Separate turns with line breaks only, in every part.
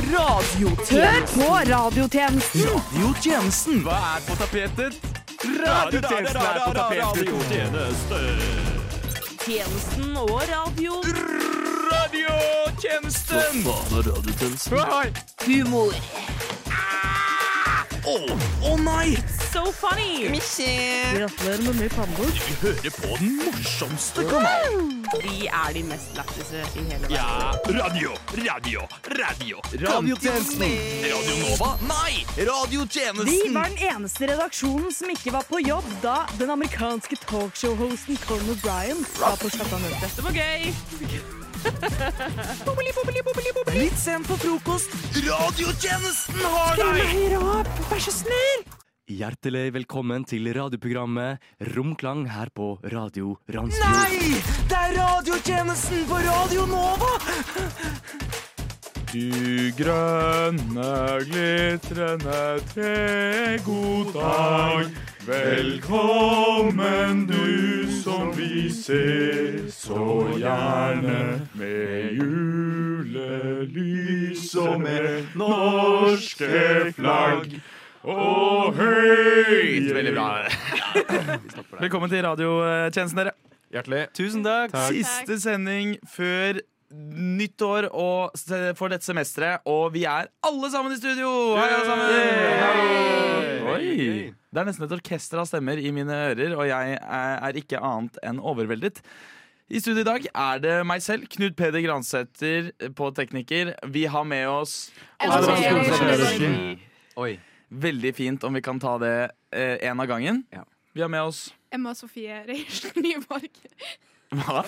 Hør
radiotjenesten.
på radiotjenesten!
Radiotjenesten.
Hva er på tapetet?
Radiotjenesten er på tapetet.
Tjenesten og radio.
Radiotjenesten! Hva faen er radiotjenesten? Å
Humor.
Ah! nei!
So funny!
Gratulerer med ny pannebok.
Vi hører på den morsomste kanalen.
Vi er de mest lættise i hele verden.
Ja, radio, radio, radio. Radiotjenesten. Radio Nova? Nei,
Vi
radiotjenesten.
var den eneste redaksjonen som ikke var på jobb da den amerikanske talkshow-hosten Conor Bryan var på skattamøte.
Det var gøy!
Litt sent på frokost. Radiotjenesten har
Kom
deg!
høyere opp, vær så snill!
Hjertelig velkommen til radioprogrammet Romklang her på Radio Ransfjord.
Nei, det er radiotjenesten på Radio Nova.
Du grønne, glitrende te, god dag. Velkommen du som vi ser så gjerne. Med julelys og med norske flagg. Og høyt
Veldig bra.
Velkommen til radiotjenesten, dere.
Hjertelig.
Tusen takk.
Takk.
Siste sending før nytt år og se- for dette semesteret. Og vi er alle sammen i studio! Hei, alle sammen! Oi. Det er nesten et orkester av stemmer i mine ører, og jeg er er ikke annet enn overveldet. I studio i dag er det meg selv, Knut Peder Gransæter på Tekniker. Vi har med oss Veldig fint om vi kan ta det én av gangen. Vi har med oss
Emma Sofie Reiersen Nyborg.
Hva?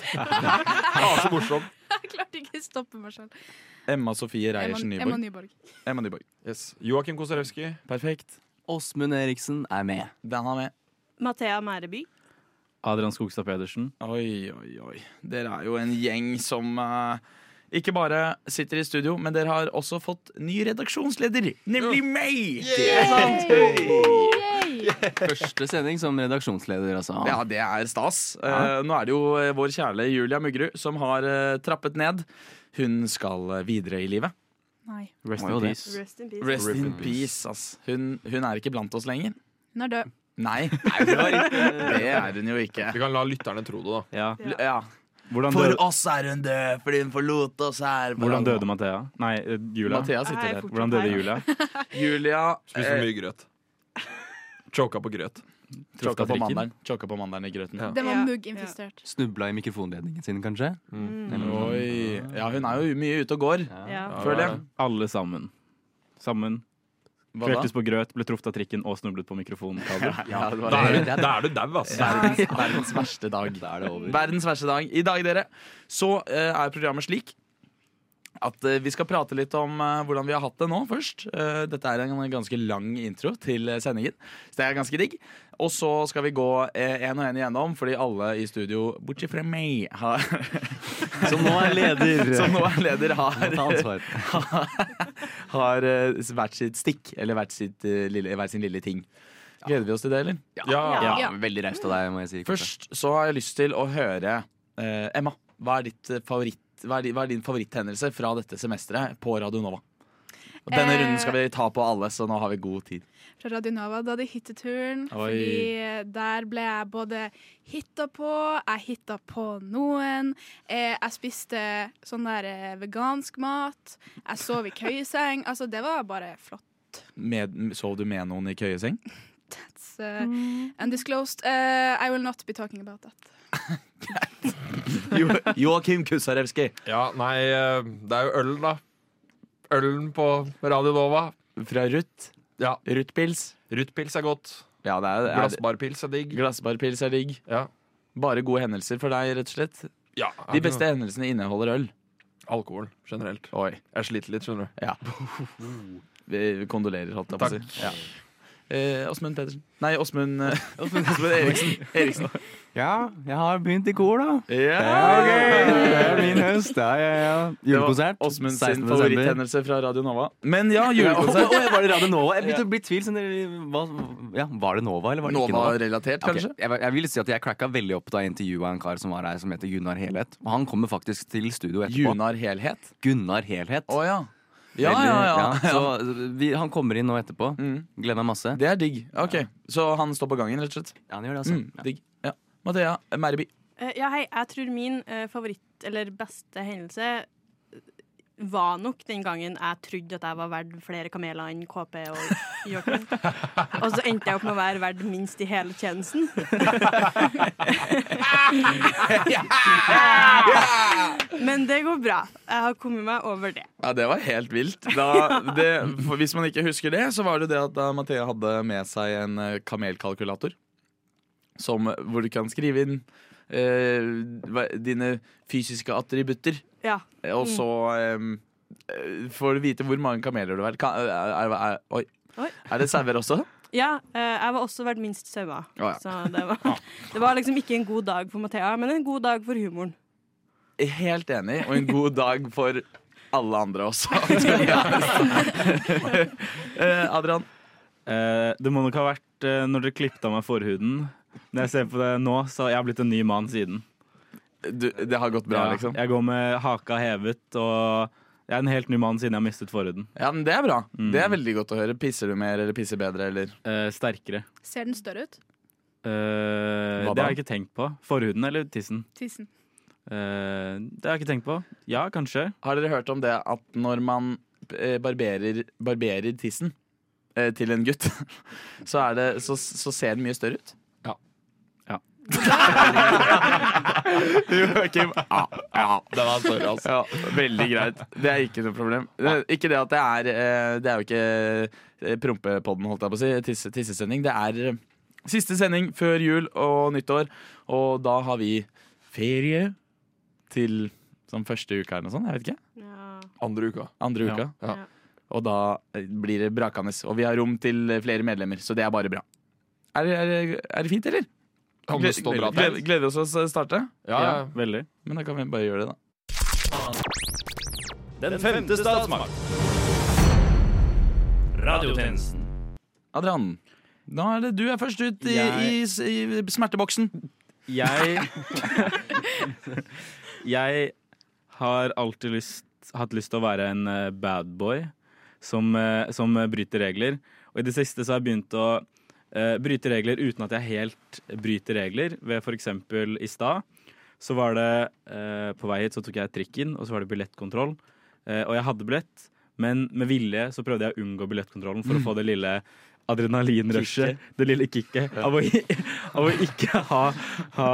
Så morsom.
Jeg klarte ikke å stoppe meg selv.
Ah, Emma Sofie
Emma,
Reiersen
Emma
Nyborg.
Nyborg.
Emma Nyborg.
Yes. Joakim Kosarewski.
Perfekt.
Åsmund Eriksen er med.
Den har med.
Mathea Mæreby.
Adrian Skogstad Pedersen.
Oi, oi, oi. Dere er jo en gjeng som eh, ikke bare sitter i studio, men dere har også fått ny redaksjonsleder, nemlig meg!
Første sending som redaksjonsleder, altså.
Ja, det er stas. Eh, nå er det jo eh, vår kjære Julia Muggerud som har eh, trappet ned. Hun skal eh, videre i livet.
Nei,
Rest
Må
in
jo det.
peace.
Rest in peace.
Rest in peace, ass. Hun, hun er ikke blant oss lenger.
hun er død.
Nei, det er hun jo ikke.
Vi kan la lytterne tro det, da.
Ja.
Ja.
Hvordan,
For
døde,
oss er hun død, fordi hun forlot oss her.
hvordan døde Mathea? Nei, eh, Julia.
Mathea sitter
Nei,
der.
fortsatt
Hvordan døde
her.
Julia?
Julia eh,
Spiste for mye grøt. Choka på grøt.
Choka på
Trikken.
mandelen. Choka på mandelen i grøten.
Ja.
Den var
Ja.
mugginfisert.
Snubla i mikrofonledningen sin, kanskje.
Oi. Ja, hun er jo mye ute og går,
Ja.
føler jeg.
Alle sammen. Sammen.
Hva da?
Kveltes på grøt, ble truffet av trikken og snublet på mikrofonen.
Ja, det var
Da er du- da er du dau, ass.
verdens, verdens verste dag.
Da er det over.
Verdens verste dag. I dag, dere, så eh, er programmet slik at eh, vi skal prate litt om eh, hvordan vi har hatt det nå først. Eh, dette er en ganske lang intro til eh, sendingen, så det er ganske digg. Og så skal vi gå eh, en og en igjennom, fordi alle i studio, bortsett fra meg, har,
Som nå er leder.
som nå er leder, har
Ta ansvar.
har eh, hvert sitt stikk, eller hvert, sitt, eh, lille, hver sin lille ting. Gleder vi oss til det, eller?
Ja.
Ja.
Ja, veldig raust av deg, må jeg si.
Først så har jeg lyst til å høre eh, Emma, hva er, ditt eh, favoritt, hva, er, di- hva er din favoritthendelse fra dette semesteret på Radio Nova? Og Denne
Eh.
runden skal vi ta på alle, så nå har vi god tid.
Fra Radio Nova, da hadde jeg hytteturen.
Oi.
Fordi der ble jeg både hitta på, jeg hitta på noen. eh, Jeg spiste sånn der eh, vegansk mat. Jeg sov i køyeseng. Altså, det var bare flott.
Med, sov du med noen i køyeseng?
It's, eh,
Mm.
undisclosed. Eh, I will not be talking about that.
Jo, Joakim Kusarewski
Ja, nei, eh, det er jo ølen, da. Ølen på Radio Nova.
fra Ruth.
Ja.
Ruthpils.
Ruthpils er godt.
Ja, det er, er
Glassbarpils er digg.
Glassbarpils er digg.
Ja.
Bare gode hendelser for deg, rett og slett.
Ja,
De beste hendelsene inneholder øl.
Alkohol generelt.
Oi.
Jeg sliter litt, skjønner du.
Ja. Vi vi kondolerer, holdt jeg på å si. Ja. Eh, Åsmund Pedersen. Nei, Åsmund eh, Åsmund Eriksen. Eriksen.
Ja, jeg har begynt i kor, da.
Ja,
Det er min høst. Ja, ja, ja.
Det var
Julekonsert.
Åsmund
16.
sin
desember.
favoritthendelse fra Radio Nova. Men ja,
Julekonsert.
julekonsert.
Å, jeg var det Radio Nova? Jeg begynte å bli i tvil. Sånn, hva, ja, var det Nova, eller var det ikke Nova?
Nova-relatert,
Ok,
kanskje?
Jeg, jeg vil si at jeg cracka veldig opp da jeg intervjua en kar som var her som heter Gunnar Helhet. Og han kommer faktisk til studio etterpå.
Junar Helhet.
Gunnar Helhet.
Å ja. Ja,
Veldig-
ja, ja.
Så vi, han kommer inn nå etterpå.
Mm.
Gleder meg masse.
Det er digg. Ok, Så han står på gangen, rett og slett?
Ja, han gjør det, altså.
Mm,
Ja.
digg. Ja. Mathea Merby.
Eh, ja, hei, jeg tror min eh, favoritt, eller beste hendelse eh, var nok den gangen jeg trodde at jeg var verd flere kameler enn KP og Joakim. Og så endte jeg opp med å være verd minst i hele tjenesten. Men det går bra. Jeg har kommet meg over det.
Ja, det var helt vilt. Da, det, for hvis man ikke husker det, så var det det at da Mathea hadde med seg en eh, kamelkalkulator. Som, hvor du kan skrive inn eh, hva- dine fysiske attributter.
Ja.
eh, Og så eh, eh, får du vite hvor mange kameler du har. Ka, er, er, er, oi.
Oi.
er det sauer også?
Ja, eh, jeg var også verd minst sauer.
Å, ja.
Så det var, det var liksom ikke en god dag for Mathea, men en god dag for humoren.
Helt enig, og en god dag for alle andre også. Eh, Adrian,
Eh, det må nok ha vært eh, når dere klippet av meg forhuden. Når jeg ser på det nå, så har jeg blitt en ny mann siden.
du, det har gått bra,
Ja,
liksom?
Jeg går med haka hevet og jeg er en helt ny mann siden jeg har mistet forhuden.
Ja, men Det er bra. Det er veldig godt å høre. Pisser du mer eller pisser bedre? Eller?
Eh, sterkere.
Ser den større ut?
Eh,
Hva
det
da?
har jeg ikke tenkt på. Forhuden eller tissen?
Tissen.
Eh, det har jeg ikke tenkt på. Ja, kanskje.
Har dere hørt om det at når man eh, barberer, barberer tissen eh, til en gutt, så, er det, så, så ser den mye større ut?
Ja. Ja.
Joakim. Ja, ja, det var større, altså. Ja, veldig greit. Det er ikke noe problem. Det, ikke det at det er eh, Det er jo ikke eh, prompepodden, holdt jeg på å si. Tisse, tissesending. Det er eh, siste sending før jul og nyttår, og da har vi ferie til som første uka eller noe sånt. Jeg vet ikke.
Ja.
Andre uka.
Andre
Ja.
uka.
Ja.
Ja.
Og da eh, blir det brakende. Og vi har rom til eh, flere medlemmer, så det er bare bra. Er, det- er, det- er det fint, eller?
Kan det stå bra
gleder,
til?
gleder vi oss til å starte?
Ja, ja.
Veldig.
Men da kan vi bare gjøre det, da.
Den femte statsmakt. Radiotjenesten.
Adrian, da er det du er først ut i, i, s- i smerteboksen.
Jeg Jeg har alltid lyst, hatt lyst til å være en eh, bad boy som, eh, som eh, bryter regler. Og i det siste så har jeg begynt å eh, bryte regler uten at jeg helt bryter regler. Ved for eksempel i stad så var det eh, På vei hit så tok jeg trikken, og så var det billettkontroll. Eh, og jeg hadde billett, men med vilje så prøvde jeg å unngå billettkontrollen for å få det lille adrenalinrushet, det lille kicket, av, å i- av å ikke ha, ha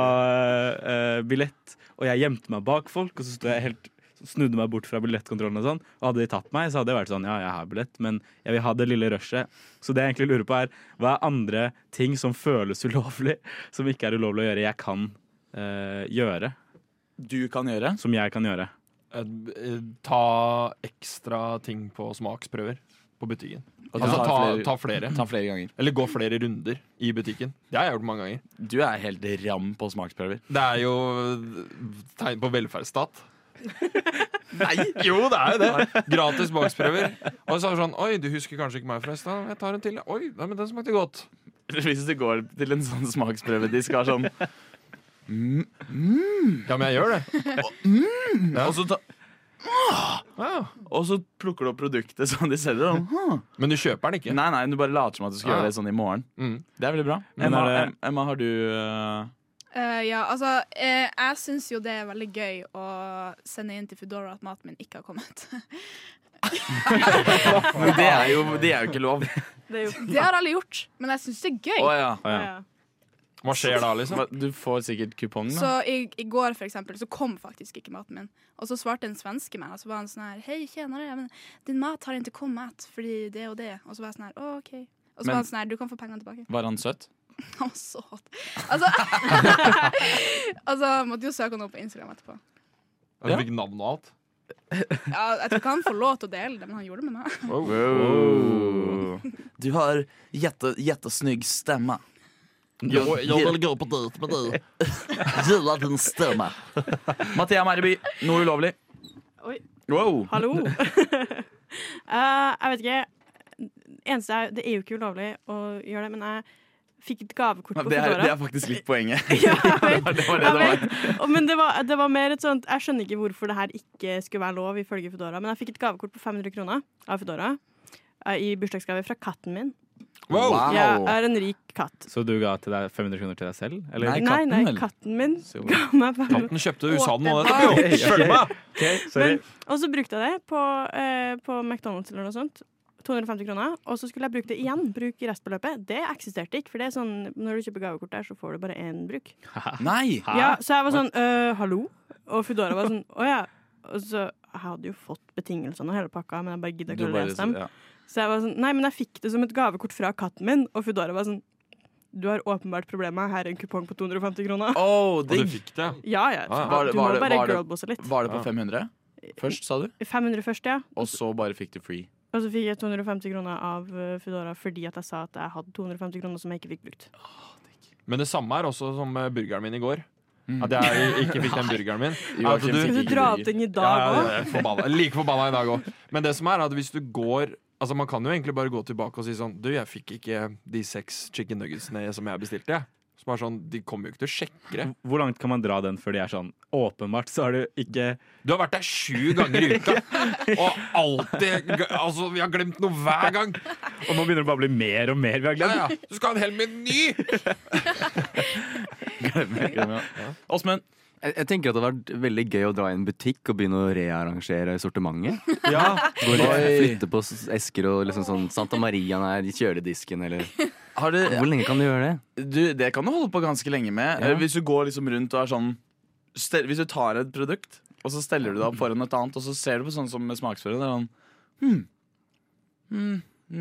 eh, billett. Og jeg gjemte meg bak folk, og så stod jeg helt snudde meg bort fra billettkontrollen. Og sånn Og hadde de tatt meg, så hadde jeg vært sånn Ja, jeg har billett, men jeg vil ha det lille rushet. Så det jeg egentlig lurer på, er hva er andre ting som føles ulovlig, som ikke er ulovlig å gjøre, jeg kan eh, gjøre?
Du kan gjøre.
Som jeg kan gjøre.
Eh, Ta ekstra ting på smaksprøver på butikken.
Og
Altså
ta
ta,
flere-
ta flere.
Ta flere ganger.
Eller gå flere runder i butikken. Det har jeg gjort mange ganger.
Du er helt ram på smaksprøver.
Det er jo tegn på velferdsstat. Nei! Jo, det er jo det. Gratis boksprøver. Og så er det sånn Oi, du husker kanskje ikke meg forresten. Jeg tar en til. Oi, nei, men den smakte godt.
Hvis du går til en sånn smaksprøvedisk og har sånn
Ja, men jeg gjør det.
og, så ta,
Ja.
og så plukker du opp produktet som de selger. og, «Hm,
Men du kjøper den ikke.
Nei, nei, du bare later som at du skal
Ja.
gjøre det sånn i morgen.
Mm.
Det er veldig bra.
Men
Emma,
er det-
Em- Emma har du eh,
Eh, ja, altså, eh, jeg syns jo det er veldig gøy å sende inn til Foodora at maten min ikke har kommet.
Men det er, jo, det er jo ikke lov.
Det er jo
Det har alle gjort, men jeg syns det er gøy.
Å
Å,
ja.
Ah, ja.
ja.
Hva skjer da, liksom?
Hva- Du får sikkert kupong,
Så
da.
i, i går for eksempel, så kom faktisk ikke maten min. Og så svarte en svenske meg, og så var han sånn her Hei, tjenere, men din mat har ikke kommet fordi det og det. Og så var jeg sånn her, å, OK. Og så
Men-
var han sånn her, du kan få pengene tilbake.
Var han søt?
Han var så hot. Altså, altså måtte jo søke han opp på Instagram etterpå.
Altså, Du fikk navn og alt.
Ja, jeg tror ikke han får lov til å dele det, men han gjorde det med meg.
Du har jättesnygg stemme.
gå på date med deg.
gillar din stemme. Mathea Merby, noe ulovlig.
Oi.
Wow.
Hallo! Eh, jeg vet ikke. Eneste er, det er jo ikke ulovlig å gjøre det, men jeg fikk et gavekort på
Det er, det
Foodora.
er faktisk litt poenget.
Ja, jeg vet.
Det var det
Jeg
det var.
vet. Og- Men det var, det var mer et sånt Jeg skjønner ikke hvorfor det her ikke skulle være lov, ifølge Foodora. Men jeg fikk et gavekort på 500 kroner av Foodora eh, i bursdagsgave fra katten min.
Wow.
Jeg er en rik katt.
Så du ga til deg 500 kroner til deg selv? Eller?
Nei,
Nei,
katten,
nei,
vel?
katten min ga meg 500
Den kjøpte usaden nå nettopp, jo! Følg med!
sorry.
Men- Og så brukte jeg det på, eh, på McDonald's eller noe sånt. 250 kroner. Og så skulle jeg bruke det igjen. Bruk restbeløpet. Det eksisterte ikke. For det er sånn, når du kjøper gavekort der, så får du bare én bruk.
Nei!
Ja, så jeg var sånn «Øh, Hallo? Og Foodora var sånn Å ja. Og så jeg hadde jo fått betingelsene og hele pakka, men jeg bare gidda ikke å lese dem.
ja.
Så jeg var sånn Nei, men jeg fikk det som et gavekort fra katten min. Og Foodora var sånn Du har åpenbart problemer. Her er en kupong på 250 kroner.
Oh,
Og du
digg.
fikk det.
Ja, ja.
Ah, ja.
Var det-
Du
var
må
det-
bare
var det-
girlbosse litt.
Var det på
Ja.
500 først, sa du?
500 først, ja.
Og så bare fikk du free.
Og så fikk jeg 250 kroner av eh, Foodora fordi at jeg sa at jeg hadde 250 kroner som jeg ikke fikk brukt.
Men det samme er også som eh, burgeren min i går. At jeg ikke fikk den burgeren min.
Joakim
At du-
fikk
Skal du
ikke
dra
burger.
ut den i
Ja,
dag
ja,
òg?
jeg er eh, forbanna. Like forbanna i dag òg. Men det som er, er at hvis du går Altså Man kan jo egentlig bare gå tilbake og si sånn Du, jeg fikk ikke de seks chicken nuggetsene som jeg bestilte. jeg." Som er sånn, De kommer jo ikke til å sjekke det.
Hvor langt kan man dra den før de er sånn Åpenbart så har du ikke
Du har vært der sju ganger i uka, og alltid Altså, vi har glemt noe hver gang.
Og nå begynner det bare å bli mer og mer vi har
Ja,
glemt.
ja. Du skal ha en hel meny!
Åsmund,
Jeg, jeg tenker at det hadde vært veldig gøy å dra i en butikk og begynne å rearrangere sortimentet. Gå litt-
Oi.
Flytte på s- esker og liksom sånn Santa Maria nær kjøledisken eller
har du
Hvor lenge kan du gjøre det?
du, det kan du holde på ganske lenge med.
Ja.
Eh, Hvis du går liksom rundt og er sånn stel, Hvis du tar et produkt, og så steller du deg opp foran et annet, og så ser du på sånn som med smaksfører, og sånn hm. hm.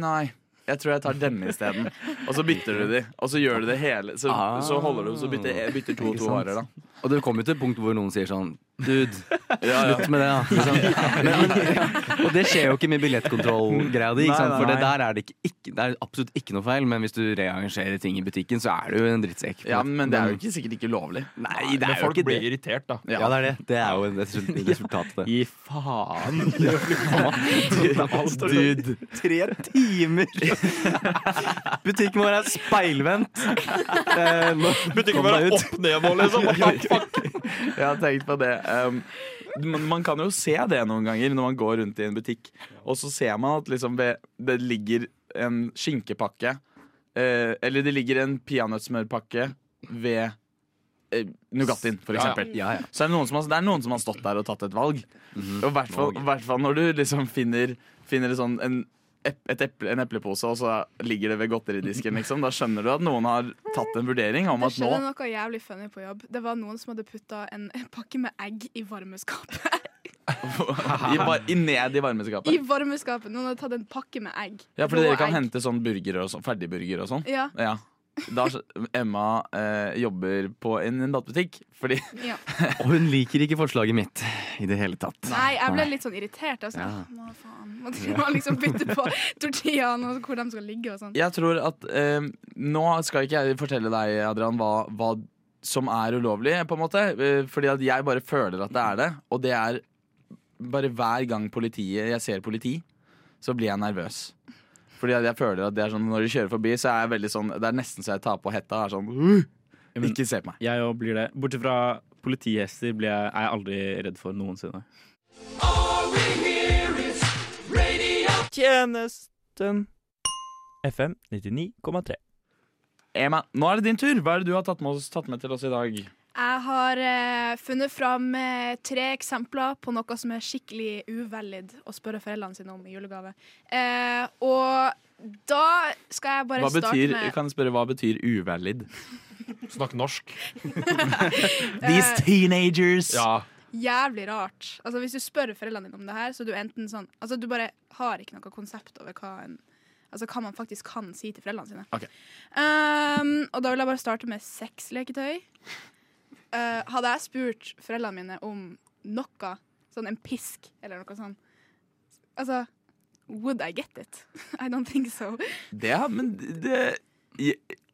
Nei. Jeg tror jeg tar denne isteden. Og så bytter du de. Og så gjør du det hele. Så,
Ah.
så holder du, så bytter, eh, bytter to og to
Ikke
varer, da.
sant? Og det kommer jo til et punkt hvor noen sier sånn Dude,
Ja, ja.
slutt med det, da. Liksom. Men, men, og det skjer jo ikke med billettkontrollgreia di, ikke sant? for det der er det, ikke, ikke, det er absolutt ikke noe feil. Men hvis du rearrangerer ting i butikken, så er du jo en drittsekk.
ja, men det er jo ikke, sikkert ikke ulovlig.
Nei, det
Men
er jo
folk
ikke
blir
det.
irritert, da.
Ja, det er det. Det er jo et resul- et resultat av det.
Gi faen.
Dude, tre timer! Butikken vår er speilvendt. Eh, nå-
Butikken
Kom deg
bare
ut.
opp ned nå, liksom. What the fuck?
Jeg har tenkt på det. Um, man, man kan jo se det noen ganger når man går rundt i en butikk, og så ser man at liksom ved, det ligger en skinkepakke eh, Eller det ligger en peanøttsmørpakke ved eh, Nugattien, for
Ja, Mhm. ja.
eksempel.
Ja, ja.
Så er det, noen som har, det er noen som har stått der og tatt et valg. Og i hvert fall- i hvert fall når du liksom finner, finner et sånn, en, ep- et eple, en eplepose, og så ligger det ved godteridisken, liksom. Da skjønner du at noen har tatt en vurdering om
Det
at nå
skjedde noe jævlig funny på jobb. Det var noen som hadde putta en pakke med egg i varmeskapet.
i, var- i Ned i varmeskapet.
I varmeskapet! Noen hadde tatt en pakke med egg.
Ja, fordi
Rå
dere kan
egg.
hente sånn burger og sånn, ferdigburger og sånn.
Ja,
Ja. Da, Emma eh, jobber på en, en matbutikk, fordi
ja.
Og hun liker ikke forslaget mitt i det hele tatt.
Nei, jeg ble litt sånn irritert. Altså.
Ja.
Må faen. Må de må liksom bytte på tortillaen og hvor de skal ligge og sånn.
jeg tror at eh, Nå skal ikke jeg fortelle deg, Adrian, hva, hva som er ulovlig, på en måte. eh, Fordi at jeg bare føler at det er det. Og det er bare hver gang politiet jeg ser politi, så blir jeg nervøs. Fordi at jeg føler at det er sånn når de kjører forbi, så er jeg veldig sånn Det er nesten så jeg tar på hetta og er sånn «Uh,
men-
Ikke se på meg.
Jeg òg blir det. Bortsett fra politihester blir jeg, er jeg aldri redd for noensinne.
Tjenesten. FM 99,3.
Emma, nå er det din tur. Hva er det du har tatt med, oss, tatt med til oss i dag?
Jeg har eh, funnet fram eh, tre eksempler på noe som er skikkelig uvalid å spørre foreldrene sine om i julegave. Eh, og da skal jeg bare
Hva
starte
betyr,
med
kan jeg spørre, hva betyr uvalid?
Snakk norsk.
These
teenagers!
Ja.
jævlig rart. Altså Hvis du spør foreldrene dine om det her, så er du enten sånn Altså Du bare har ikke noe konsept over hva en Altså hva man faktisk kan si til foreldrene sine.
Ok.
Ehm, og da vil jeg bare starte med sexleketøy. Eh, hadde jeg spurt foreldrene mine om noe, sånn en pisk eller noe sånn Altså Would I get it? I don't think so.
Det, er- men det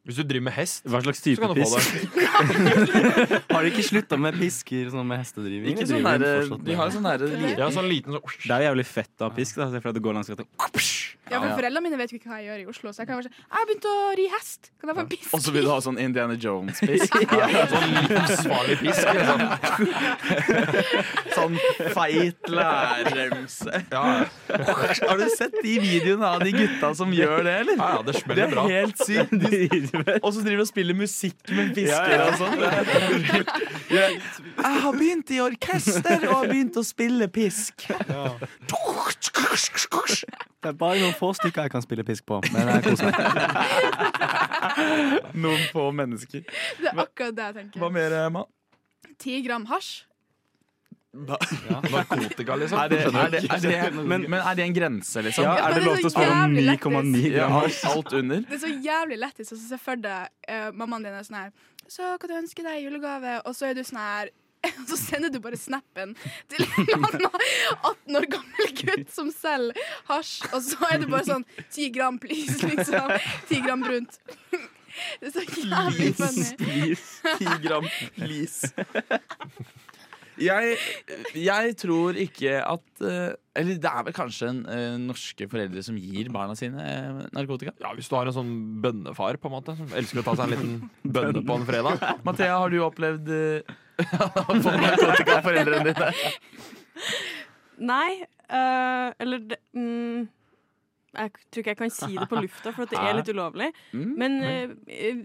Hvis du driver med hest,
Hva slags
så
type
kan du få
piss?
det.
Har de ikke slutta med pisker og sånn med hestedriving?
Ikke
Eller
sånn
driver de
der,
fortsatt
De
med-
har jo sånn derre
Ja, sånn liten sånn
Det er jo jævlig fett av pisk. Da. Se for deg at du går langs gata. Kapsj!
Ja, for Foreldrene mine vet jo ikke hva jeg gjør i Oslo, så jeg kan være sånn Jeg har begynt å ri hest! Kan jeg få en pisk?
Og så vil du ha sånn Indiana Jones-pisk.
Sånn livsfarlig pisk. Liksom.
Sånn feit lærremse. Har du sett de videoene av de gutta som gjør det, eller?
Ja, ja, det
Det
smeller
er
bra.
helt sykt. De- Og så driver de og spiller musikk med fisker og sånn. Det er helt vilt. Jeg har begynt i orkester og har begynt å spille pisk.
Det er bare noen få stykker jeg kan spille pisk på, men jeg koser meg.
Noen få mennesker.
Det er akkurat det jeg tenker.
Hva mer, eh, Emma?
Ti gram hasj?
Narkotika, liksom.
Er det, er det, er det, men, men er det en grense, liksom?
Ja, er det lov til å spørre om
jævlig
9,9
Ja,
gram?
alt, alt under?
Det er så jævlig lættis å se for deg eh, mammaen din er sånn her Så hva du ønsker deg i julegave? Og så er du sånn her og så sender du bare snappen til en eller annen 18 år gammel gutt som selger hasj, og så er det bare sånn 10 gram, please, liksom. 10 gram brunt. Det er så jævlig funny.
Ti gram, please. Jeg, jeg tror ikke at eh, Eller det er vel kanskje en, eh, norske foreldre som gir barna sine eh, narkotika?
Ja, Hvis du har en sånn bønnefar på en måte som elsker å ta seg en liten bønne på en fredag.
Mathea, har du opplevd eh, å få narkotika av foreldrene dine?
Nei, øh, eller det, mm, Jeg tror ikke jeg kan si det på lufta, for at det er litt ulovlig. Men øh, øh,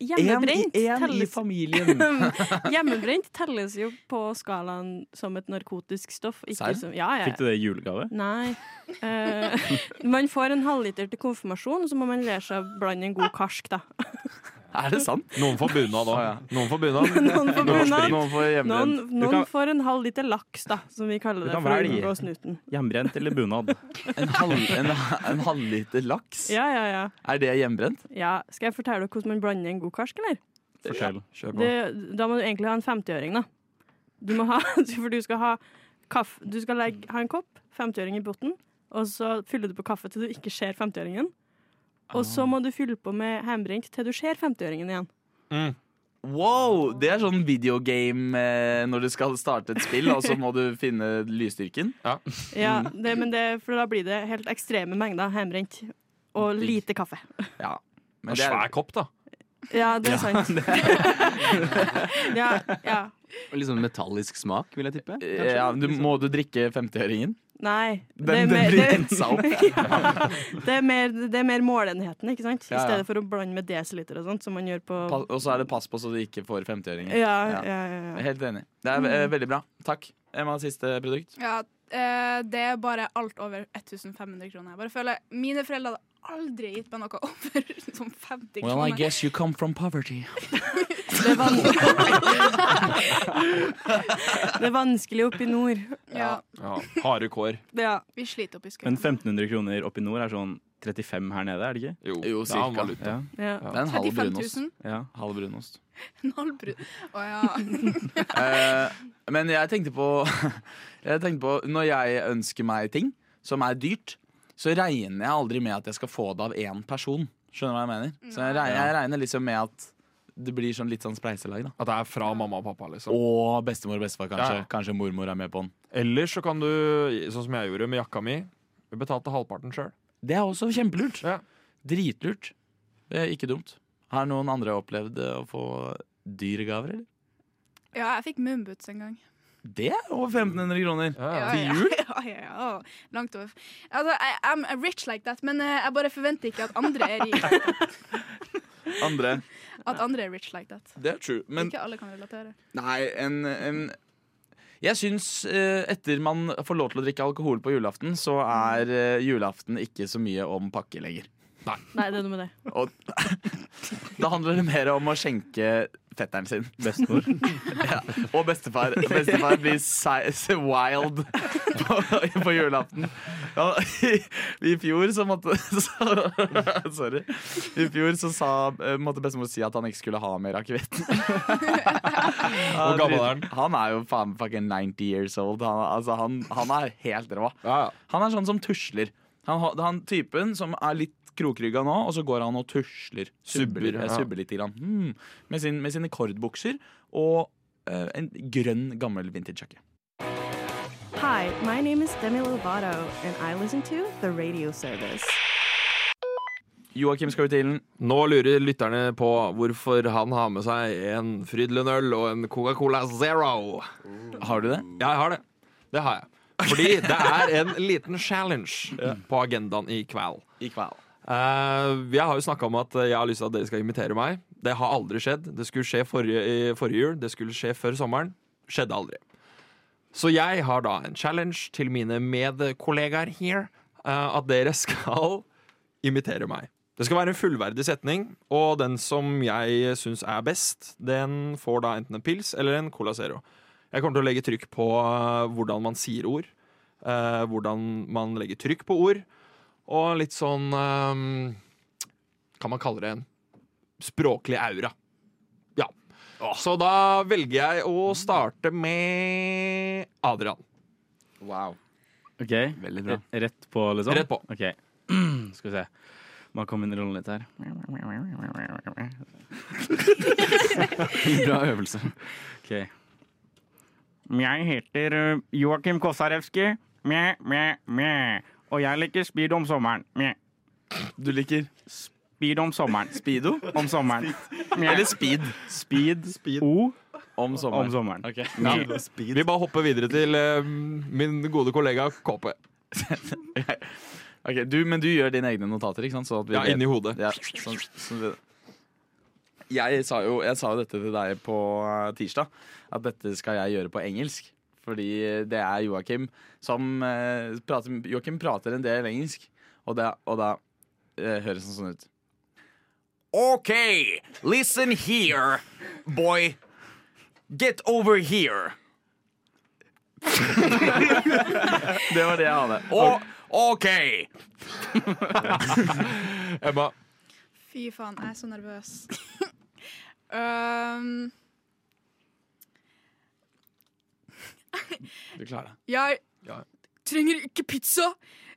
hjemmebrent, telles,
familien.
hjemmebrent telles jo på skalaen som et narkotisk stoff. Ikke
Serr?
som, ja, ja.
Fikk du det i julegave?
Nei. Eh, man får en halvliter til konfirmasjon, og så må man lære seg å blande en god karsk, da.
Er det sant?
Noen får bunad òg. Noen får bunad.
Noen får bunad.
Noen får
Noen,
hjemmebrent.
noen
kan-
får en halv liter laks, da, som vi kaller
Du
det.
kan
For å
velge.
unngå snuten.
Hjemmebrent eller bunad?
En, halv, en, en halvliter laks?
Ja, ja, ja,
Er det hjemmebrent?
ja. Skal jeg fortelle dere hvordan man blander en god karsk, eller?
Fortell.
Det, da må du egentlig ha en 50-øring, da. Du må ha, for du skal ha kaffe Du skal legge, ha en kopp, 50-øring i bunnen, og så fyller du på kaffe til du ikke ser 50-øringen. Og
Ah.
så må du fylle på med hjemmebrent til du ser 50-øringen igjen.
Wow, Det er sånn videogame eh, når du skal starte et spill, og så må du finne lysstyrken.
Ja,
Mm.
det, men det, for da blir det helt ekstreme mengder hjemmebrent. Og lite kaffe.
Men
En svær kopp, da.
Ja, det er sant. ja, ja.
Litt sånn metallisk smak, vil jeg tippe. kanskje.
Eh, ja, du, må du drikke 50-øringen?
Nei. det, er
Den, den
mer,
blir
det,
rensa opp.
det, er mer, det er mer målenheten, ikke sant? I
Ja, ja.
stedet for å blande med desiliter og sånt, som man gjør på
Pa- Og så er det pass på så du ikke får 50-øringer.
ja,
Ja.
ja, ja, ja.
Helt enig. Det er eh, veldig bra. Takk. Emma, siste produkt.
Ja, eh, det er bare alt over 1500 kroner. Jeg bare føler Mine foreldre hadde aldri gitt meg noe over sånn 50 kroner.
guess you come from poverty.
Det, er vanskelig. det er vanskelig oppe i nord.
Ja,
Ja, Harde kår.
Ja.
vi sliter oppi
Men
skauen.
1500 kroner opp i nord er sånn 35 her nede, er det ikke?
Jo,
Jo,
det er
cirka.
valuta.
Ja.
ja.
Det er en halv
35
brunost.
000?
ja.
Halv brunost.
En halv brun. Å ja.
Eh, men jeg tenkte på Jeg tenkte på Når jeg ønsker meg ting som er dyrt, så regner jeg aldri med at jeg skal få det av én person. Skjønner du hva jeg mener? Så jeg regner, jeg regner liksom med at det blir sånn litt sånn spleiselag. da
At det er fra mamma og pappa, liksom.
Og bestemor og bestefar, kanskje.
Ja.
Kanskje mormor er med på den.
Ellers så kan du, sånn som jeg gjorde med jakka mi, vi betalte halvparten sjøl.
Det er også kjempelurt.
Ja.
Dritlurt. Det er ikke dumt. Har noen andre opplevd eh, å få dyre gaver, eller?
ja, jeg fikk moonboots en gang.
Det er over 1500 kroner.
Ja,
Ah. Til jul?
Ja, ja, ja. Langt over. Altså, I, I'm rich like that, men eh, jeg bare forventer ikke at andre er rike. like that.
Andre.
At andre er rich like that.
Det er true. Men
ikke alle kan relatere.
nei, en, en Jeg syns eh, etter man får lov til å drikke alkohol på julaften, så er eh, julaften ikke så mye om pakke lenger.
Nei, det er noe med det.
Og da handler det mer om å skjenke fetteren sin.
Bestemor.
Ja. Og bestefar. Bestefar blir si- si- wild på, på julaften. Ja, i, I fjor så måtte så, Sorry. I fjor så sa, eh, måtte bestemor si at han ikke skulle ha mer akevitt. Hvor
gammel er han?
Han er jo faen fucking 90 years old. Han, altså, han, han er helt rå.
ja.
Han er sånn som tusler. Han, har- han typen som er litt krokrygga nå, og så går han og tusler. Subber,
Subber,
eh,
ja.
subber litt. Grann. Hmm. Med, sin, med sine kordbukser og eh, en grønn, gammel vintagejakke.
Her Hi, my name is Demi Lovato, and I listen to the radio service.
Joakim Skautilen.
Nå lurer lytterne på hvorfor han har med seg en Frydlund øl og en Coca-Cola Zero.
Har du det?
Jeg har det. Det har jeg. Fordi det er en liten challenge på agendaen i kveld.
I kveld.
Eh, jeg har jo snakka om at jeg har lyst til at dere skal invitere meg. Det har aldri skjedd. Det skulle skje forrige, i forrige jul, det skulle skje før sommeren. Skjedde aldri. Så jeg har da en challenge til mine medkollegaer here. eh, at dere skal imitere meg. Det skal være en fullverdig setning, og den som jeg syns er best, den får da enten en pils eller en Cola Zero. Jeg kommer til å legge trykk på eh, hvordan man sier ord, eh, hvordan man legger trykk på ord. Og litt sånn ehm, Kan man kalle det en språklig aura. Ja. Så da velger jeg å starte med Adrian.
OK,
Veldig bra.
R- rett på, liksom?
Rett på.
Ok. Skal vi se. Må komme inn i rollen litt her.
Bra øvelse.
Ok. Jeg heter uh, Joakim Kosarewski. Mjau, mjau, mjau. Og jeg liker speed om sommeren. Mjau.
Du liker
Speed om sommeren.
Speedo
Om sommeren. Mjau.
eller Speed
speed, O
om
om
sommeren?
sommeren.
Ok.
Mjau.
Vi bare hopper videre til ehm, min gode kollega KP.
Ok, du, men du gjør dine egne notater, ikke sant? Så at vi
Ja,
vet-
inni hodet.
Ja, sånn, sånn det. Jeg sa jo jeg sa jo dette til deg på eh, tirsdag, at dette skal jeg gjøre på engelsk. Fordi det er Joakim som eh, prater, Joakim prater en del engelsk, og, det, og da eh, høres det sånn ut. OK, listen here, boy. Get over here. det var det jeg hadde. Og OK.
Emma,
Fy faen, jeg er så nervøs. um,
Du klarer det.
jeg
Ja.
trenger ikke pizza.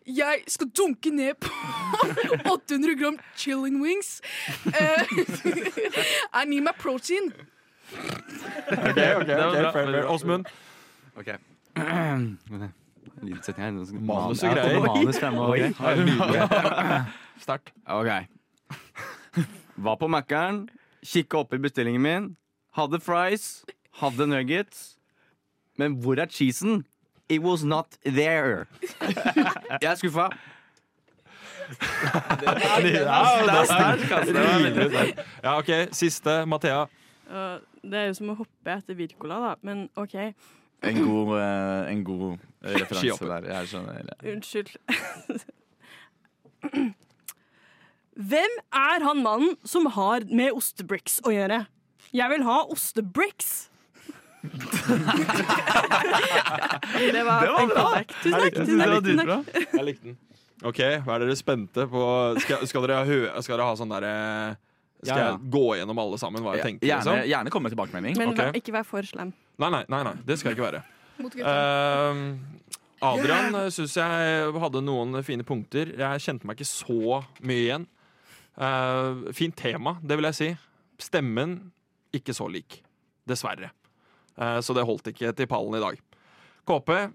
Jeg skal dunke ned på 800 gram chilling wings. Eh, I need my protein.
Det var bra.
Åsmund.
Ok. Lydsetting her. Manus,
Manus og
Ja,
greier.
Manus fremme og greier.
Sterkt.
Ok. Var på Mækkern, kikka opp i bestillingen min, hadde fries, hadde nuggets. Men hvor er cheesen? It was not there. Jeg er skuffa.
Ja, OK. Siste. Mathea.
Og det er jo som å hoppe etter Wirkola, da. Men OK,
En god, eh, en god eh, referanse
Skihopper.
der. Jeg skjønner.
unnskyld. Hvem er han mannen som har med ostebricks å gjøre? Jeg vil ha ostebricks! det var, perfekt. Tusen takk. Tusen takk, tusen takk.
Jeg likte den. OK, hva er dere spente på? Skal, skal, dere, hø skal dere ha sånn derre Skal
Ja, ja.
jeg gå gjennom alle sammen hva jeg tenker?
Gjerne,
Liksom?
gjerne komme med tilbakemelding.
Men
Ok.
vær- ikke vær for slem.
Nei, nei, nei, nei, det skal jeg ikke være.
Mot gutta.
Eh, Adrian syns jeg hadde noen fine punkter. Jeg kjente meg ikke så mye igjen. Eh, fint tema, det vil jeg si. Stemmen ikke så lik. Dessverre. Eh, så det holdt ikke til pallen i dag. KP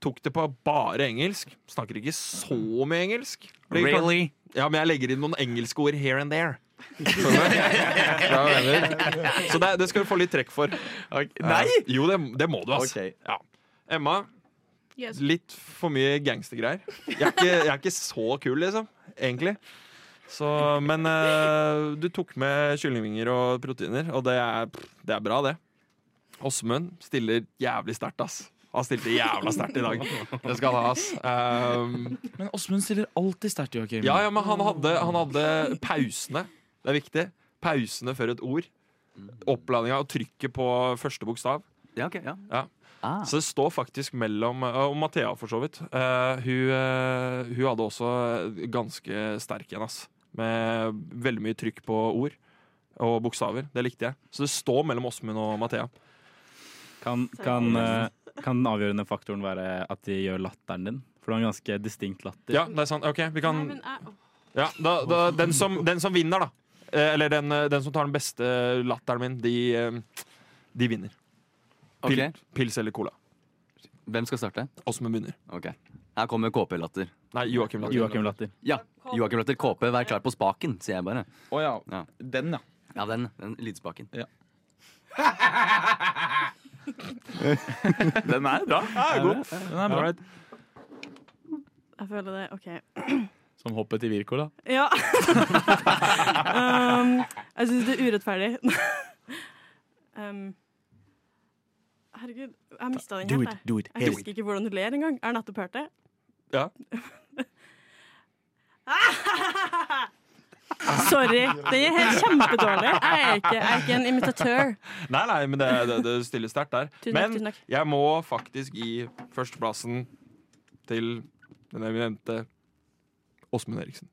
tok det på bare engelsk. Snakker ikke så mye engelsk. Blir kanskje- Ja, men jeg legger inn noen engelske ord here and there. Skjønner du? Ja, jeg mener. Så det, det skal du få litt trekk for.
Nei!
Eh, Jo, det, det må du, altså.
Ok.
Ja. Emma,
Yes.
litt for mye gangstergreier. Jeg, er ikke- jeg er ikke så kul, liksom. Egentlig. Så, men eh, du tok med kyllingvinger og proteiner, og det er, det er bra, det. Åsmund stiller jævlig sterkt, ass. Han stilte jævla sterkt i dag. Det skal han ha, ass. Um,
Men Åsmund stiller alltid sterkt, Joakim.
ja, ja, men han hadde, han hadde pausene. Det er viktig. Pausene før et ord. Oppladninga og trykket på første bokstav.
Ja, ok, ja.
Ja.
Ah,
Så det står faktisk mellom eh, Og Mathea, for så vidt. Eh, hun, eh, hun hadde også eh, ganske sterk en, ass. Med veldig mye trykk på ord og bokstaver. Det likte jeg. Så det står mellom Åsmund og Mathea.
Kan, kan, eh, kan den avgjørende faktoren være at de gjør latteren din? For du har en ganske distinkt latter.
Ja, det er sant. OK, vi kan
Nei, men eh, jeg,
Ja, da, da, den, som, den som vinner, da. Eh, Eller den, eh, den som tar den beste latteren min, de, eh, de vinner. Pil,
ok.
Pils eller cola.
Hvem skal starte?
Oss som begynner.
Ok. Her kommer KP-latter.
Nei, Joakim Latter.
Joakim Latter.
Ja, Joakim Latter KP, vær klar på spaken, sier jeg bare.
Å ja.
Ja.
Den, ja.
Ja, den, den lydspaken.
Den er bra. Den er bra.
Jeg føler det. OK.
Som hoppet i Wirkola.
Ja. um, jeg syns det er urettferdig. um, herregud, jeg mista den helt. jeg.
do it.
Jeg husker ikke hvordan du ler engang. Jeg har nettopp hørt det.
Ja.
Sorry. Den er helt kjempedårlig. Jeg er ikke, jeg er ikke en imitatør.
Nei, nei, men det, det, det stiller sterkt der.
Tusen takk,
Men
tusen takk.
jeg må faktisk gi førsteplassen til den eminente Åsmund Eriksen.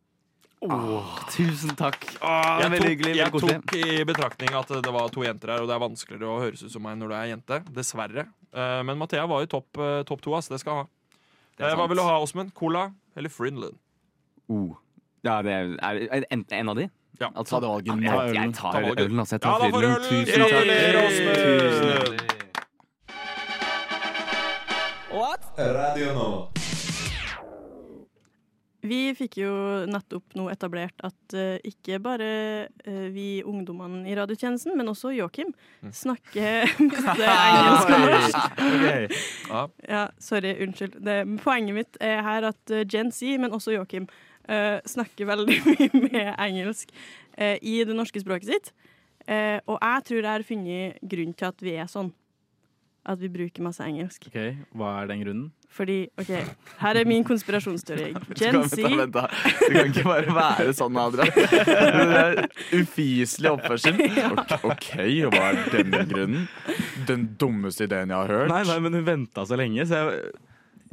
Tusen takk. det er
Jeg
veldig
tok,
hyggelig.
jeg
Veldig koselig.
tok i betraktning at det var to jenter her, og det er vanskeligere å høres ut som meg når du er jente. Dessverre. Eh, Men Mathea var jo topp eh, topp to, ass. Det skal jeg ha.
er
Eh, Hva
sant.
vil du ha, Åsmund? Cola eller Frinland?
Oh. Ja, det er, er, er en, en av de?
Ja.
altså,
Ta det valget.
Ja, Jeg, jeg
Ta
tar
valget.
ølen, altså. Jeg
Ja,
tar
da får du
Frydenlund.
ølen!
Tusen takk.
Gratulerer, Åsmund!
Vi fikk jo nettopp nå etablert at eh, ikke bare eh, vi ungdommene i radiotjenesten, men også Joakim, snakker masse engelsk og norsk.
Ja.
Ja, sorry, unnskyld. Det, poenget mitt er her at eh, Gen Z, men også Joakim, eh, snakker veldig mye med engelsk eh, i det norske språket sitt. Eh, og jeg tror jeg har funnet grunnen til at vi er sånn. At vi bruker masse engelsk.
Ok, Hva er den grunnen?
Fordi, OK, her er min konspirasjonsteori. Gen Z
Vent, da. Du kan ikke bare være sånn, Adrian. Det er ufyselig oppførsel. Ok, OK, og hva er denne grunnen? Den dummeste ideen jeg har hørt.
Nei, nei, men hun venta så lenge, så jeg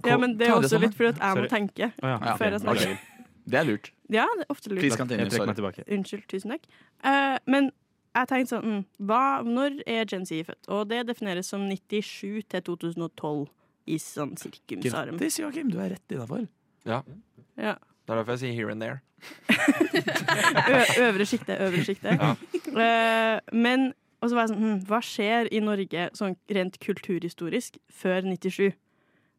Ja, men det er
Ta det
også
sånn,
litt fordi at jeg må
Sorry.
tenke.
Å ja.
Før jeg snakker.
ok. Det er lurt.
Ja, det er ofte lurt.
Please continue,
Jeg trekker
sorry.
meg tilbake.
Unnskyld, tusen takk. Eh, men jeg tenkte sånn mm, hva, Når er Gen Z født? Og det defineres som 97 til 2012 i sånn sirkumsarm.
Grattis, Joakim. Du er rett innafor.
Ja.
Det er derfor jeg sier here and there.
Ø øvre sjikte, øvre sjikte. Eh, men og så var jeg sånn hm, Hva skjer i Norge sånn rent kulturhistorisk før 97?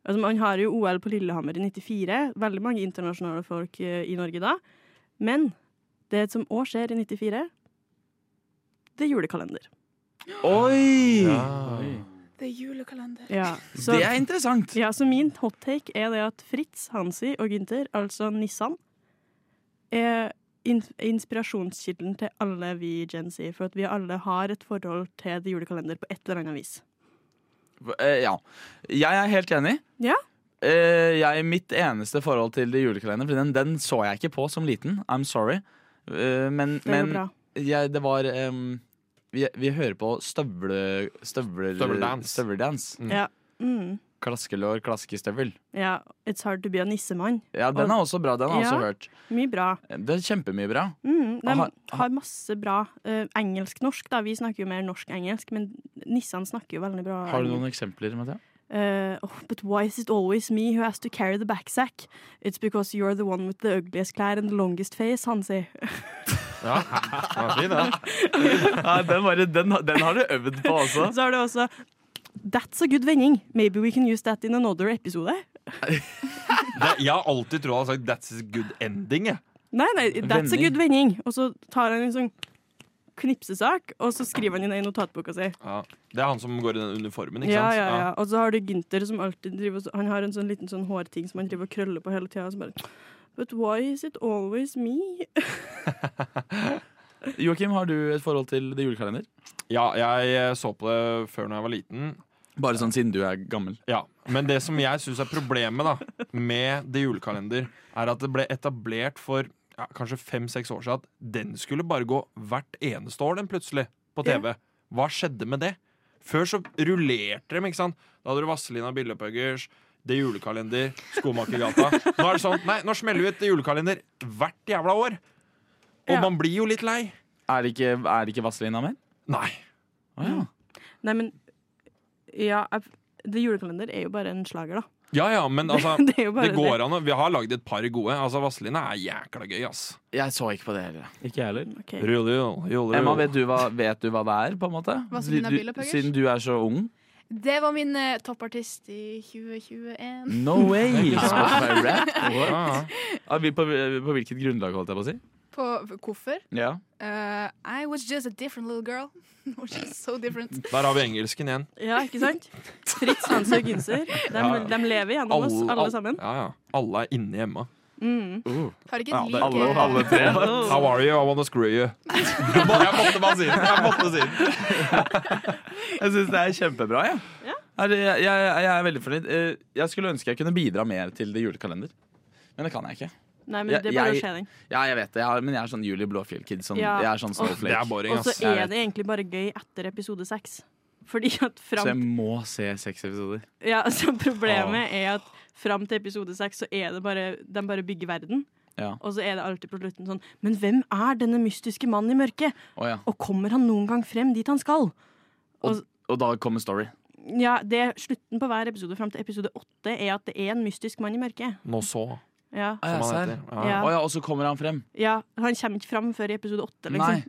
Altså, man har jo OL på Lillehammer i 94. Veldig mange internasjonale folk eh, i Norge da. Men det som òg skjer i 94, det er julekalender.
Oi!
Det er julekalender.
Ja, så,
Det er interessant.
ja, så min hot take er det at Fritz, Hansi og Gunther, altså Nissan, er in inspirasjonskilden til alle vi i Gen Z. For at vi alle har et forhold til det julekalender på et eller annet vis.
Eh, Ja. Jeg er helt enig.
Ja.
Eh, Jeg, mitt eneste forhold til det julekalenderen, for den, den så jeg ikke på som liten. I'm sorry. Eh, Men,
Det går
men
bra.
jeg, det var em, vi, vi hører på støvle... Støvler,
Støveldance.
støveldance.
Mm.
Klaskelår, klaskestøvel.
Ja, It's hard to be a nissemann.
Ja, den er også bra. Den har jeg også
Ja.
hørt.
Mye bra.
Det er kjempemye bra.
Mm, de
Aha, aha.
har masse bra eh, engelsk-norsk. da. Vi snakker jo mer norsk-engelsk, men Nissan snakker jo veldig bra
Har du
engelsk.
noen eksempler, Mathea?
Uh, oh, but why is it always me who has to carry the backsack? It's because you're the one with the ugliest klær and the longest face, Hansi.
Ja, det var fint, det.
Nei, den, bare, den, den har du øvd på også.
Så har du også That's a good vending. Maybe we can use that in another episode.
Det- Jeg har alltid trodd han har sagt 'that's a good ending'. jeg.
Nei, nei, that's a
Vending.
good vending. Og så tar han en sånn knipsesak, og så skriver han inn i notatboka si.
Ja. Det er han som går i den uniformen, ikke
Ja,
sant?
ja, ja. Og så har du Gunther som alltid driver og- Han har en sånn liten sånn hårting som han driver og krøller på hele tida. But why is it always me?
Joakim, har du et forhold til det julekalender?
Ja, jeg så på det før når jeg var liten.
Bare sånn siden du er gammel.
Ja, Men det som jeg syns er problemet da med det julekalender, er at det ble etablert for ja, kanskje fem-seks år siden at den skulle bare gå hvert eneste år, den plutselig, på TV. Hva skjedde med det? Før så rullerte dem, ikke sant? Da hadde du Vazelina Billepuggers, Det julekalender, Skomakergata. Nå er det sånn, nei, nå smeller vi ut Det julekalender hvert jævla år. Og
Ja.
man blir jo litt lei.
Er det ikke, er det ikke Vazelina mer?
Nei.
Å ja.
Nei, men Ja, jeg- det julekalender er jo bare en slager, da.
Ja ja, men altså
det er jo bare
Det går an å Vi har lagd et par gode. Altså, Vazelina er jækla gøy, ass.
Jeg så ikke på det heller.
Ikke jeg heller.
Ok.
Rull, rull, rull, rull.
Emma, vet du hva, vet du hva det er, på en måte?
Vazelina
Du- du-
Billepuggers?
Siden du er så ung.
Det var min eh, toppartist i 2021.
No way! Spotify rap?
Ah.
Ja, vi på, på hvilket grunnlag, holdt jeg på å si?
På hvorfor?
Ja.
Eh, I was just a different little girl. Or she's so different.
Der har vi engelsken igjen.
Ja, ikke sant? Fritt sans og ginser. De,
Ja.
de lever gjennom oss, alle sammen.
Ja, ja. alle er inne hjemme.
Mm.
Har ikke et
Ja, det-
like
Alle, alle tre.
How are you? I wanna screw you. Jeg måtte bare si det. Jeg måtte si det.
Jeg syns det er kjempebra. Ja.
Ja.
Er det- Jeg, jeg, jeg er veldig fornøyd. Eh, Jeg skulle ønske jeg kunne bidra mer til det julekalender. Men det kan jeg ikke.
Nei, men det er bare å se den.
Ja, jeg vet det, jeg har, Men jeg er sånn Julie Blåfjell-kid. Sånn,
Ja.
Jeg er sånn
Det er
snowflake.
boring,
Og så
ass.
Jeg
er
vet.
det egentlig bare gøy etter episode seks. Fordi at
Så jeg
fram
må se seks episoder.
ja, så Problemet er at fram til episode seks så er det bare de bare bygger verden.
Ja.
Og så er det alltid på slutten sånn Men hvem er denne mystiske mannen i mørket?
Å, ja.
Og kommer han noen gang frem dit han skal?
Og da kommer Story.
Ja, det er Slutten på hver episode fram til episode åtte er at det er en mystisk mann i mørket.
Nå så,
Ja,
Å Ah, ja,
som han
serr.
heter. Ja.
Ja.
Å ja, og så kommer han frem.
ja Han kommer ikke fram før i episode åtte, liksom.
Nei.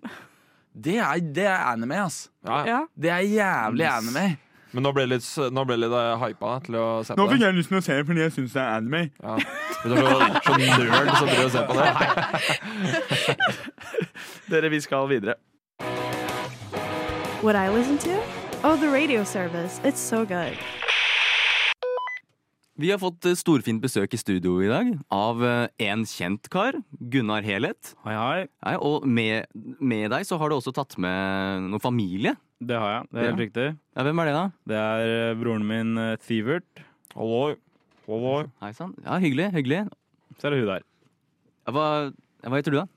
Det er, det er anime, ass.
Ja, ja.
Ja.
Det er jævlig anime.
Men nå ble jeg litt, nå ble jeg litt eh, hypa da, til å se på det.
jeg lyst til å se det fordi jeg syns det er anime.
Ja. Vet du, så- så nerd som prøver å se på det.
Dere, vi skal videre.
What I listen to? Oh, the radio service. It's so good.
Vi har fått eh, storfint besøk i studio i dag av eh, en kjent kar, Gunnar Heleth.
Hei, hei.
Nei, Og med, med deg så har du også tatt med noen familie.
Det har jeg. Det er helt riktig.
Ja, hvem er det, da?
Det er eh, broren min, eh, Sivert.
Halloi. Halloi.
Hei sann. Ja, hyggelig. hyggelig.
Så er det hun der.
Ja, Hva, ja, hva heter du, da?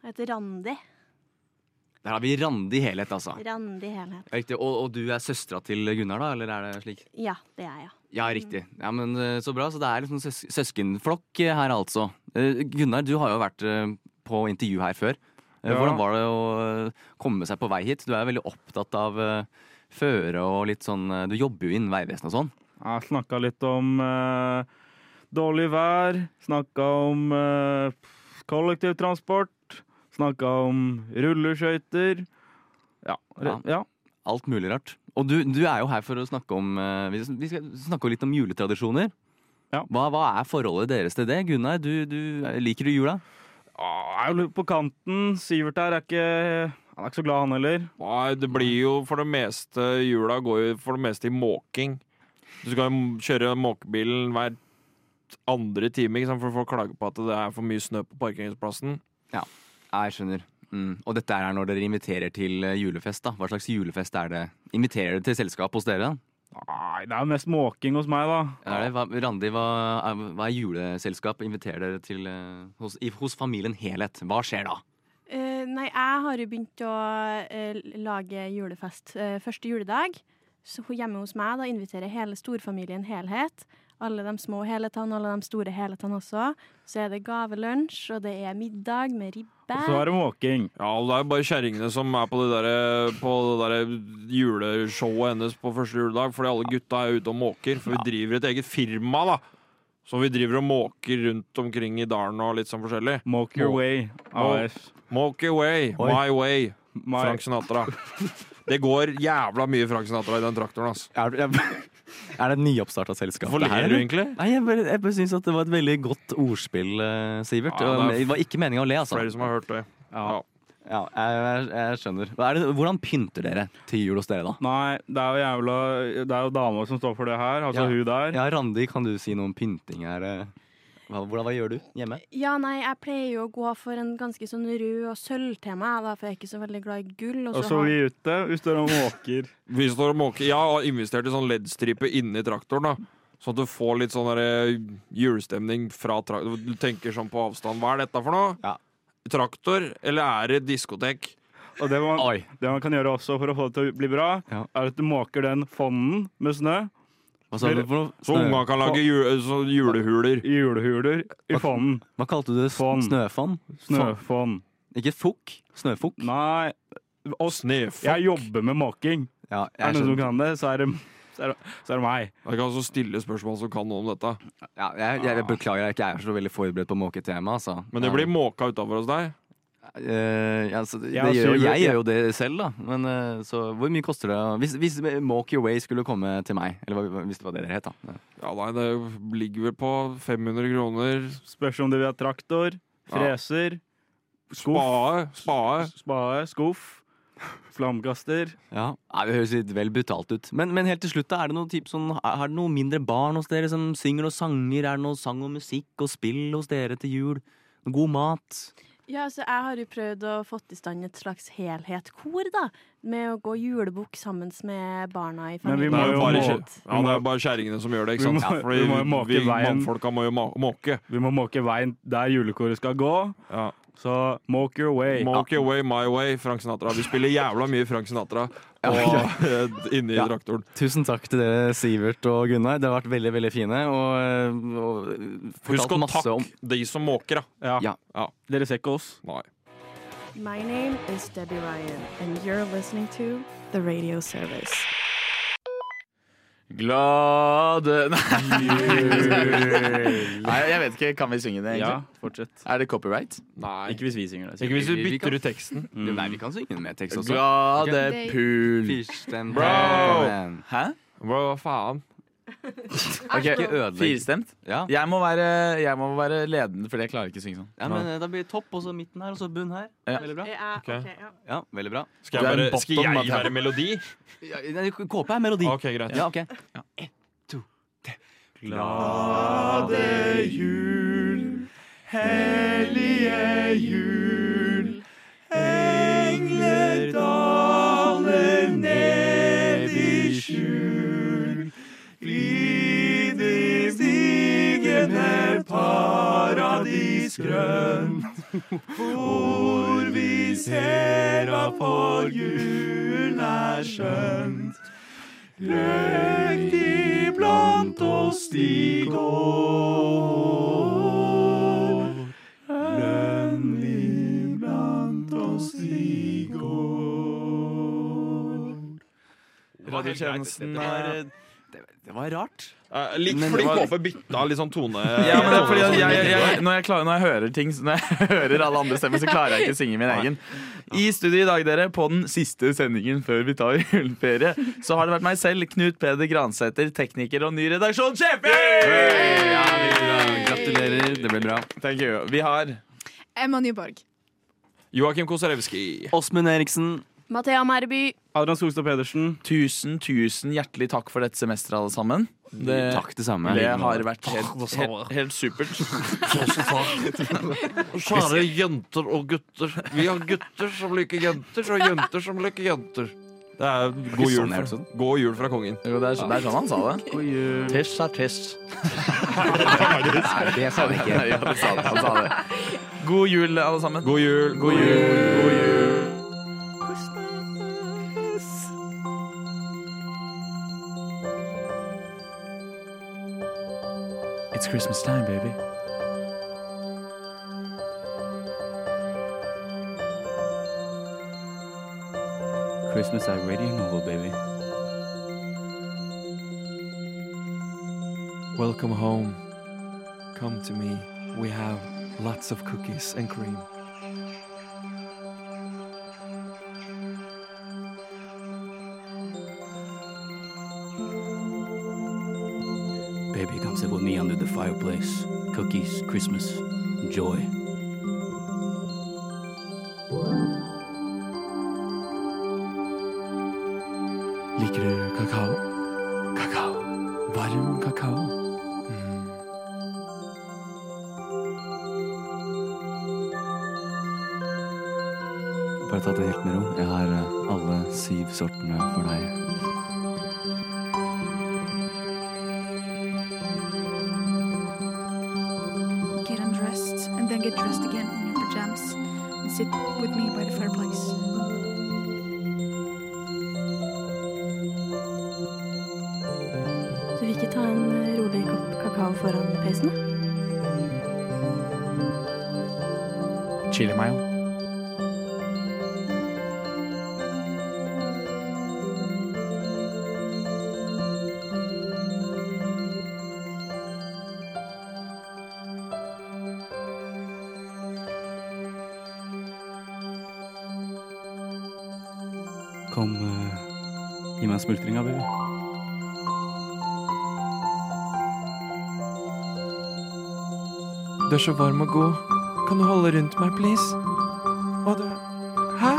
Jeg heter Randi.
Der har vi Randi Helhet, altså.
Randi Helhet.
Riktig, og, og du er søstera til Gunnar, da? Eller er det slik?
Ja, det er jeg.
Ja, riktig.
Mm.
Ja, men eh, Så bra. Så det er liksom søs søskenflokk eh, her, altså. Eh, Gunnar, du har jo vært eh, på intervju her før. Eh,
Ja.
Hvordan var det å eh, komme seg på vei hit? Du er jo veldig opptatt av eh, føre og litt sånn eh, Du jobber jo innen Vegvesenet og sånn.
Jeg snakka litt om eh, dårlig vær, snakka om eh, kollektivtransport, snakka om rulleskøyter. Ja, re- ja.
Alt mulig rart. Og du, du er jo her for å snakke om eh, Vi vi skal snakke litt om juletradisjoner.
Ja.
Hva, hva er forholdet deres til det? Gunnar, du, du, liker du jula?
Ah, Jeg er jo litt på kanten. Sivert her er ikke Han er ikke så glad, han heller.
Nei, det blir jo for det meste Jula går jo for det meste i måking. Du skal jo kjøre måkebilen hver andre time, ikke sant? for folk klager på at det er for mye snø på parkeringsplassen.
Ja, jeg skjønner. Mm. Og dette er når dere inviterer til eh, julefest, da. Hva slags julefest er det? Inviterer dere til selskap hos dere? da?
Nei, det er jo mest måking hos meg, da.
Er det, hva, Randi, hva er, hva er juleselskap? Inviterer dere til eh, hos, i, hos familien Helhet? Hva skjer da?
Eh, nei, jeg har jo begynt å eh, lage julefest eh, første juledag. Så hun hjemme hos meg da inviterer hele storfamilien helhet. Alle de små helhetene, alle de store helhetene også. Så er det gavelunsj, og det er middag med ribbe.
Og så er det måking.
Ja, og det er jo bare kjerringene som er på det der, på det der juleshowet hennes på første juledag, fordi alle gutta er ute og måker. For vi driver et eget firma, da. Så vi driver og måker rundt omkring i dalen og litt sånn forskjellig.
Måk your
Må-
way.
Må-
AF.
Moke away, my way,
My-
Frank Sinatra. Det går jævla mye Frank Sinatra i den traktoren, ass.
Er, det et nyoppstarta selskap?
Hvorfor ler du egentlig?
Nei, jeg bare, jeg bare syns at det var et veldig godt ordspill, eh, Sivert.
Ja, det er
det var ikke meninga å le, altså.
Flere som har hørt det. Ja.
Ja, jeg, jeg, jeg skjønner. Hva er det, hvordan pynter dere til jul hos dere, da?
Nei, det er jo jævla Det er jo dama som står for det her. Altså
Ja.
hun der.
Ja, Randi, kan du si noe om pynting her? eh? Hva, hvordan, hva gjør du hjemme?
Ja, nei, jeg pleier jo å gå for en ganske sånn rød og sølvtema, jeg da, for jeg er ikke så veldig glad i gull. Og
Og
så
så
har...
vi ute. Vi står og måker.
Vi står og måker. Jeg har investert i sånn LED-stripe inni traktoren, da. Sånn at du får litt sånn der, eh, julestemning fra traktoren. Du tenker sånn på avstand. Hva er dette for noe?
Ja.
Traktor, eller er det diskotek?
Og det man,
Oi.
det man kan gjøre også for å få det til å bli bra,
Ja.
er at du måker den fonden med snø
Hva, sa du for noe?
Så unga kan lage jule, så julehuler.
i julehuler i fonden.
hva kalte du det?
Fond.
Snøfond?
Snøfond.
Ikke fokk? Snøfokk?
Nei,
Og snøfokk.
jeg jobber med måking.
Ja,
Er det noen
jeg
som
skjønner.
kan det, så er det, så er det, så er det meg.
Jeg kan også altså stille spørsmål som kan noe om dette.
Ja, jeg, jeg, jeg beklager, jeg er ikke jeg er så veldig forberedt på måketema, altså.
Men det blir måka utafor hos deg.
Eh, altså, det
Ja,
gjør, jo-
Silver-
jeg gjør jo det selv, da. Men eh, så hvor mye koster det? å- Hvis, hvis Walk Your Way skulle komme til meg, eller hva- hvis det var det dere het, da.
Ja, nei, det ligger vel på 500 kroner.
Spørs om du vil ha traktor, freser, skuff,
Spade. Spade.
spade, skuff, flamkaster.
Ja, Nei, Det høres litt vel brutalt ut. Men, men helt til slutt, da, er det noen typ sånn, er- har det noen mindre barn hos dere som synger og sanger? Er det noe sang og musikk og spill hos dere til jul? Noe God mat?
Ja, altså, jeg har jo prøvd å få i stand et slags helhetkor, da. Med å gå julebukk sammen med barna i
Men vi
familien.
Det er
må
jo
jo må-
bare,
vi
kjæ- ja,
må-
det er bare kjerringene som gjør det, ikke
Vi
sant?
må-
Ja, fordi
vi må jo måke
vi
veien.
mannfolka må jo ma- måke.
Vi må måke veien der julekoret skal gå,
Ja.
så moke your way.
Moke your way, my way, Frank Sinatra. Vi spiller jævla mye Frank Sinatra og, inni
Ja.
traktoren.
Tusen takk til dere, Sivert og Gunnar. Dere har vært veldig veldig fine. Og, og
Husk
fortalt
å
masse
takke
om
de som måker, da.
Ja.
Dere ser ikke oss.
Nei.
My name is Debbie Ryan, and you're listening to The Radio Service.
Glade Nei. Nei, jeg vet ikke. Kan vi synge det,
Ja,
egentlig?
fortsett.
Er det copyright?
Nei.
Ikke hvis vi synger det.
Ikke hvis du
Vi kan- Mm.
bytter ut teksten.
Nei, vi kan synge den med tekst også.
Glade
Ok.
pul.
Firstemt.
Bro!
Kom igjen.
Hæ?
Hva faen?
Ikke
Ok,
ødelegg.
Firstemt?
Ja.
Jeg må være, jeg må være ledende, fordi jeg klarer ikke å synge sånn.
Ja, men eh, Da blir det topp, og så midten her, og så bunn her.
Ja.
Veldig bra.
Ja,
Ok.
ok, ja.
Ja, veldig bra.
Skal
Du er
jeg,
en
bare, skal
bottom,
jeg
Matt.
være melodi?
Ja, nei, Kåpe er melodi.
OK, greit.
Ja, ok.
Glade jul, hellige jul. Engler daler ned i skjul. Glid i stigende paradis grønt. Hvor vi ser at for julen er skjønt. Løk iblant oss de går. Lønn iblant oss de går.
Radiotjenesten
Det, var rart.
Eh, litt
Men
fordi
det var-
KF bytta litt sånn tone.
Ja, men det er fordi at jeg, jeg, jeg, når, jeg klarer, når jeg hører ting Når jeg hører alle andre stemmer, så klarer jeg ikke å synge min egen. I studio i dag, dere, på den siste sendingen før vi tar juleferie, så har det vært meg selv, Knut Peder Gransæter, tekniker og ny redaksjonssjef!
Ja, veldig bra. Gratulerer. Det ble bra.
Thank you. Vi har
Emma Nyborg.
Joakim Kosarewski.
Åsmund Eriksen.
Mathea Merby.
Adrian Skogstad Pedersen.
tusen, tusen hjertelig takk for dette semesteret, alle sammen. Det,
Takk, det samme.
det har vært helt, helt, helt supert.
Kjære jenter og gutter. Vi har gutter som liker jenter, og jenter som liker jenter. Det er god jul,
sånn jeg
fra, god jul fra kongen.
Jo, det, er, det er sånn han sa det. Tiss er tiss.
Nei, det sa vi ikke.
Ja, han sa det, han sa det. God jul, alle sammen. God jul. God jul. God jul. It's Christmas time, baby.
Christmas er radio novel, baby.
Welcome home. Come to me. We have lots of cookies and cream.
Baby, come sit with me under the fireplace. Cookies, Christmas, joy.
Liker du kakao? Kakao. Varm kakao. Mm.
Bare ta det helt med ro. Jeg har eh, alle syv sortene for deg.
Get undressed, and then get dressed again in your pajamas. And sit with me by the fireplace.
Skal vi ikke ta en rolig kopp kakao foran peisen? da?
Chili mayo.
Kom, eh, gi meg smultringa, baby.
Du er så varm og god. Kan du holde rundt meg, please? Å, du Hæ?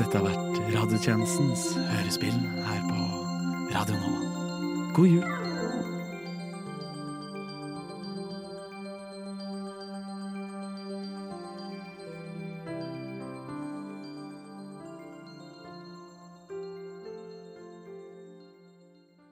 Dette har vært radiotjenestens hørespill her på Radio Nova. God jul.